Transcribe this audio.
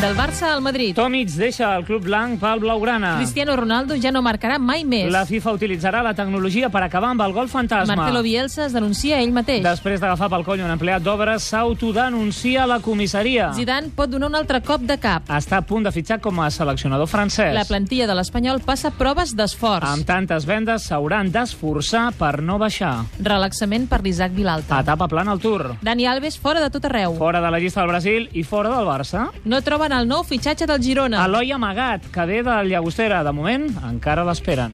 Del Barça al Madrid. Tomic deixa el club blanc pel Blaugrana. Cristiano Ronaldo ja no marcarà mai més. La FIFA utilitzarà la tecnologia per acabar amb el gol fantasma. Marcelo Bielsa es denuncia ell mateix. Després d'agafar pel coll un empleat d'obres, s'autodenuncia a la comissaria. Zidane pot donar un altre cop de cap. Està a punt de fitxar com a seleccionador francès. La plantilla de l'Espanyol passa proves d'esforç. Amb tantes vendes s'hauran d'esforçar per no baixar. Relaxament per l'Isaac Vilalta. Etapa plana al Tour. Dani Alves fora de tot arreu. Fora de la llista del Brasil i fora del Barça. No troben el nou fitxatge del Girona. Eloi Amagat, que ve del Llagostera. De moment, encara l'esperen.